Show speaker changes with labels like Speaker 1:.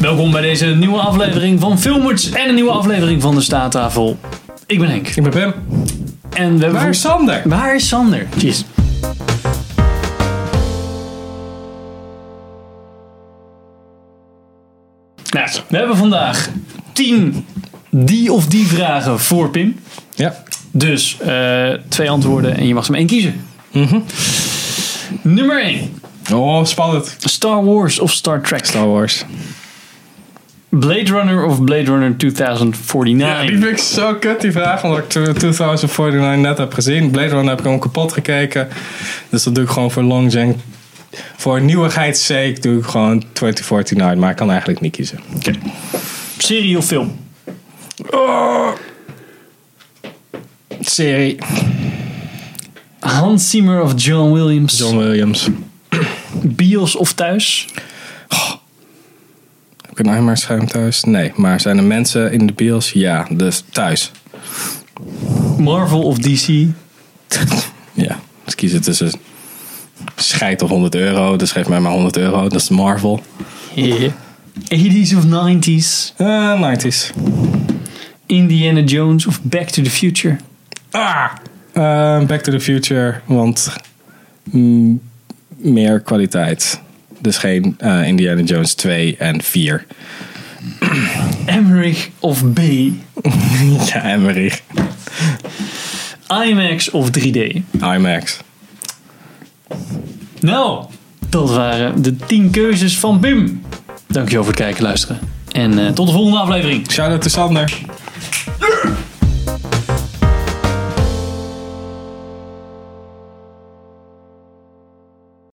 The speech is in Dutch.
Speaker 1: Welkom bij deze nieuwe aflevering van Filmers en een nieuwe aflevering van de Staattafel. Ik ben Henk.
Speaker 2: Ik ben Pim.
Speaker 1: En we hebben
Speaker 2: Waar is Sander?
Speaker 1: Waar is Sander? Jeez. Nou, we hebben vandaag 10 die of die vragen voor Pim.
Speaker 2: Ja.
Speaker 1: Dus eh, twee antwoorden en je mag ze maar één kiezen.
Speaker 2: Mhm.
Speaker 1: Nummer 1.
Speaker 2: Oh, spannend.
Speaker 1: Star Wars of Star Trek?
Speaker 2: Star Wars.
Speaker 1: Blade Runner of Blade Runner 2049?
Speaker 2: Ja, die vind ik zo kut, die vraag. Omdat ik 2049 net heb gezien. Blade Runner heb ik gewoon kapot gekeken. Dus dat doe ik gewoon voor longzang. Voor nieuwigheidssake doe ik gewoon 2049. Maar ik kan eigenlijk niet kiezen.
Speaker 1: Serie of film?
Speaker 2: Oh. Serie.
Speaker 1: Hans Zimmer of John Williams?
Speaker 2: John Williams.
Speaker 1: Bios of thuis?
Speaker 2: Heb ik een IMAX-scherm thuis? Nee. Maar zijn er mensen in de bios? Ja. Dus thuis.
Speaker 1: Marvel of DC?
Speaker 2: Ja, dus kiezen tussen scheid of 100 euro. Dus geef mij maar 100 euro. Dat is Marvel.
Speaker 1: Yeah. 80s of 90s?
Speaker 2: Eh 90s.
Speaker 1: Indiana Jones of Back to the Future?
Speaker 2: Ah! Eh, Back to the Future, want mm, meer kwaliteit. Dus geen eh, Indiana Jones 2 en 4.
Speaker 1: Emmerich of B?
Speaker 2: ja, Emmerich.
Speaker 1: IMAX of 3D?
Speaker 2: IMAX.
Speaker 1: Nou, dat waren de 10 keuzes van Pim. Dankjewel voor het kijken en luisteren. En eh, tot de volgende aflevering.
Speaker 2: Shout-out to Sander.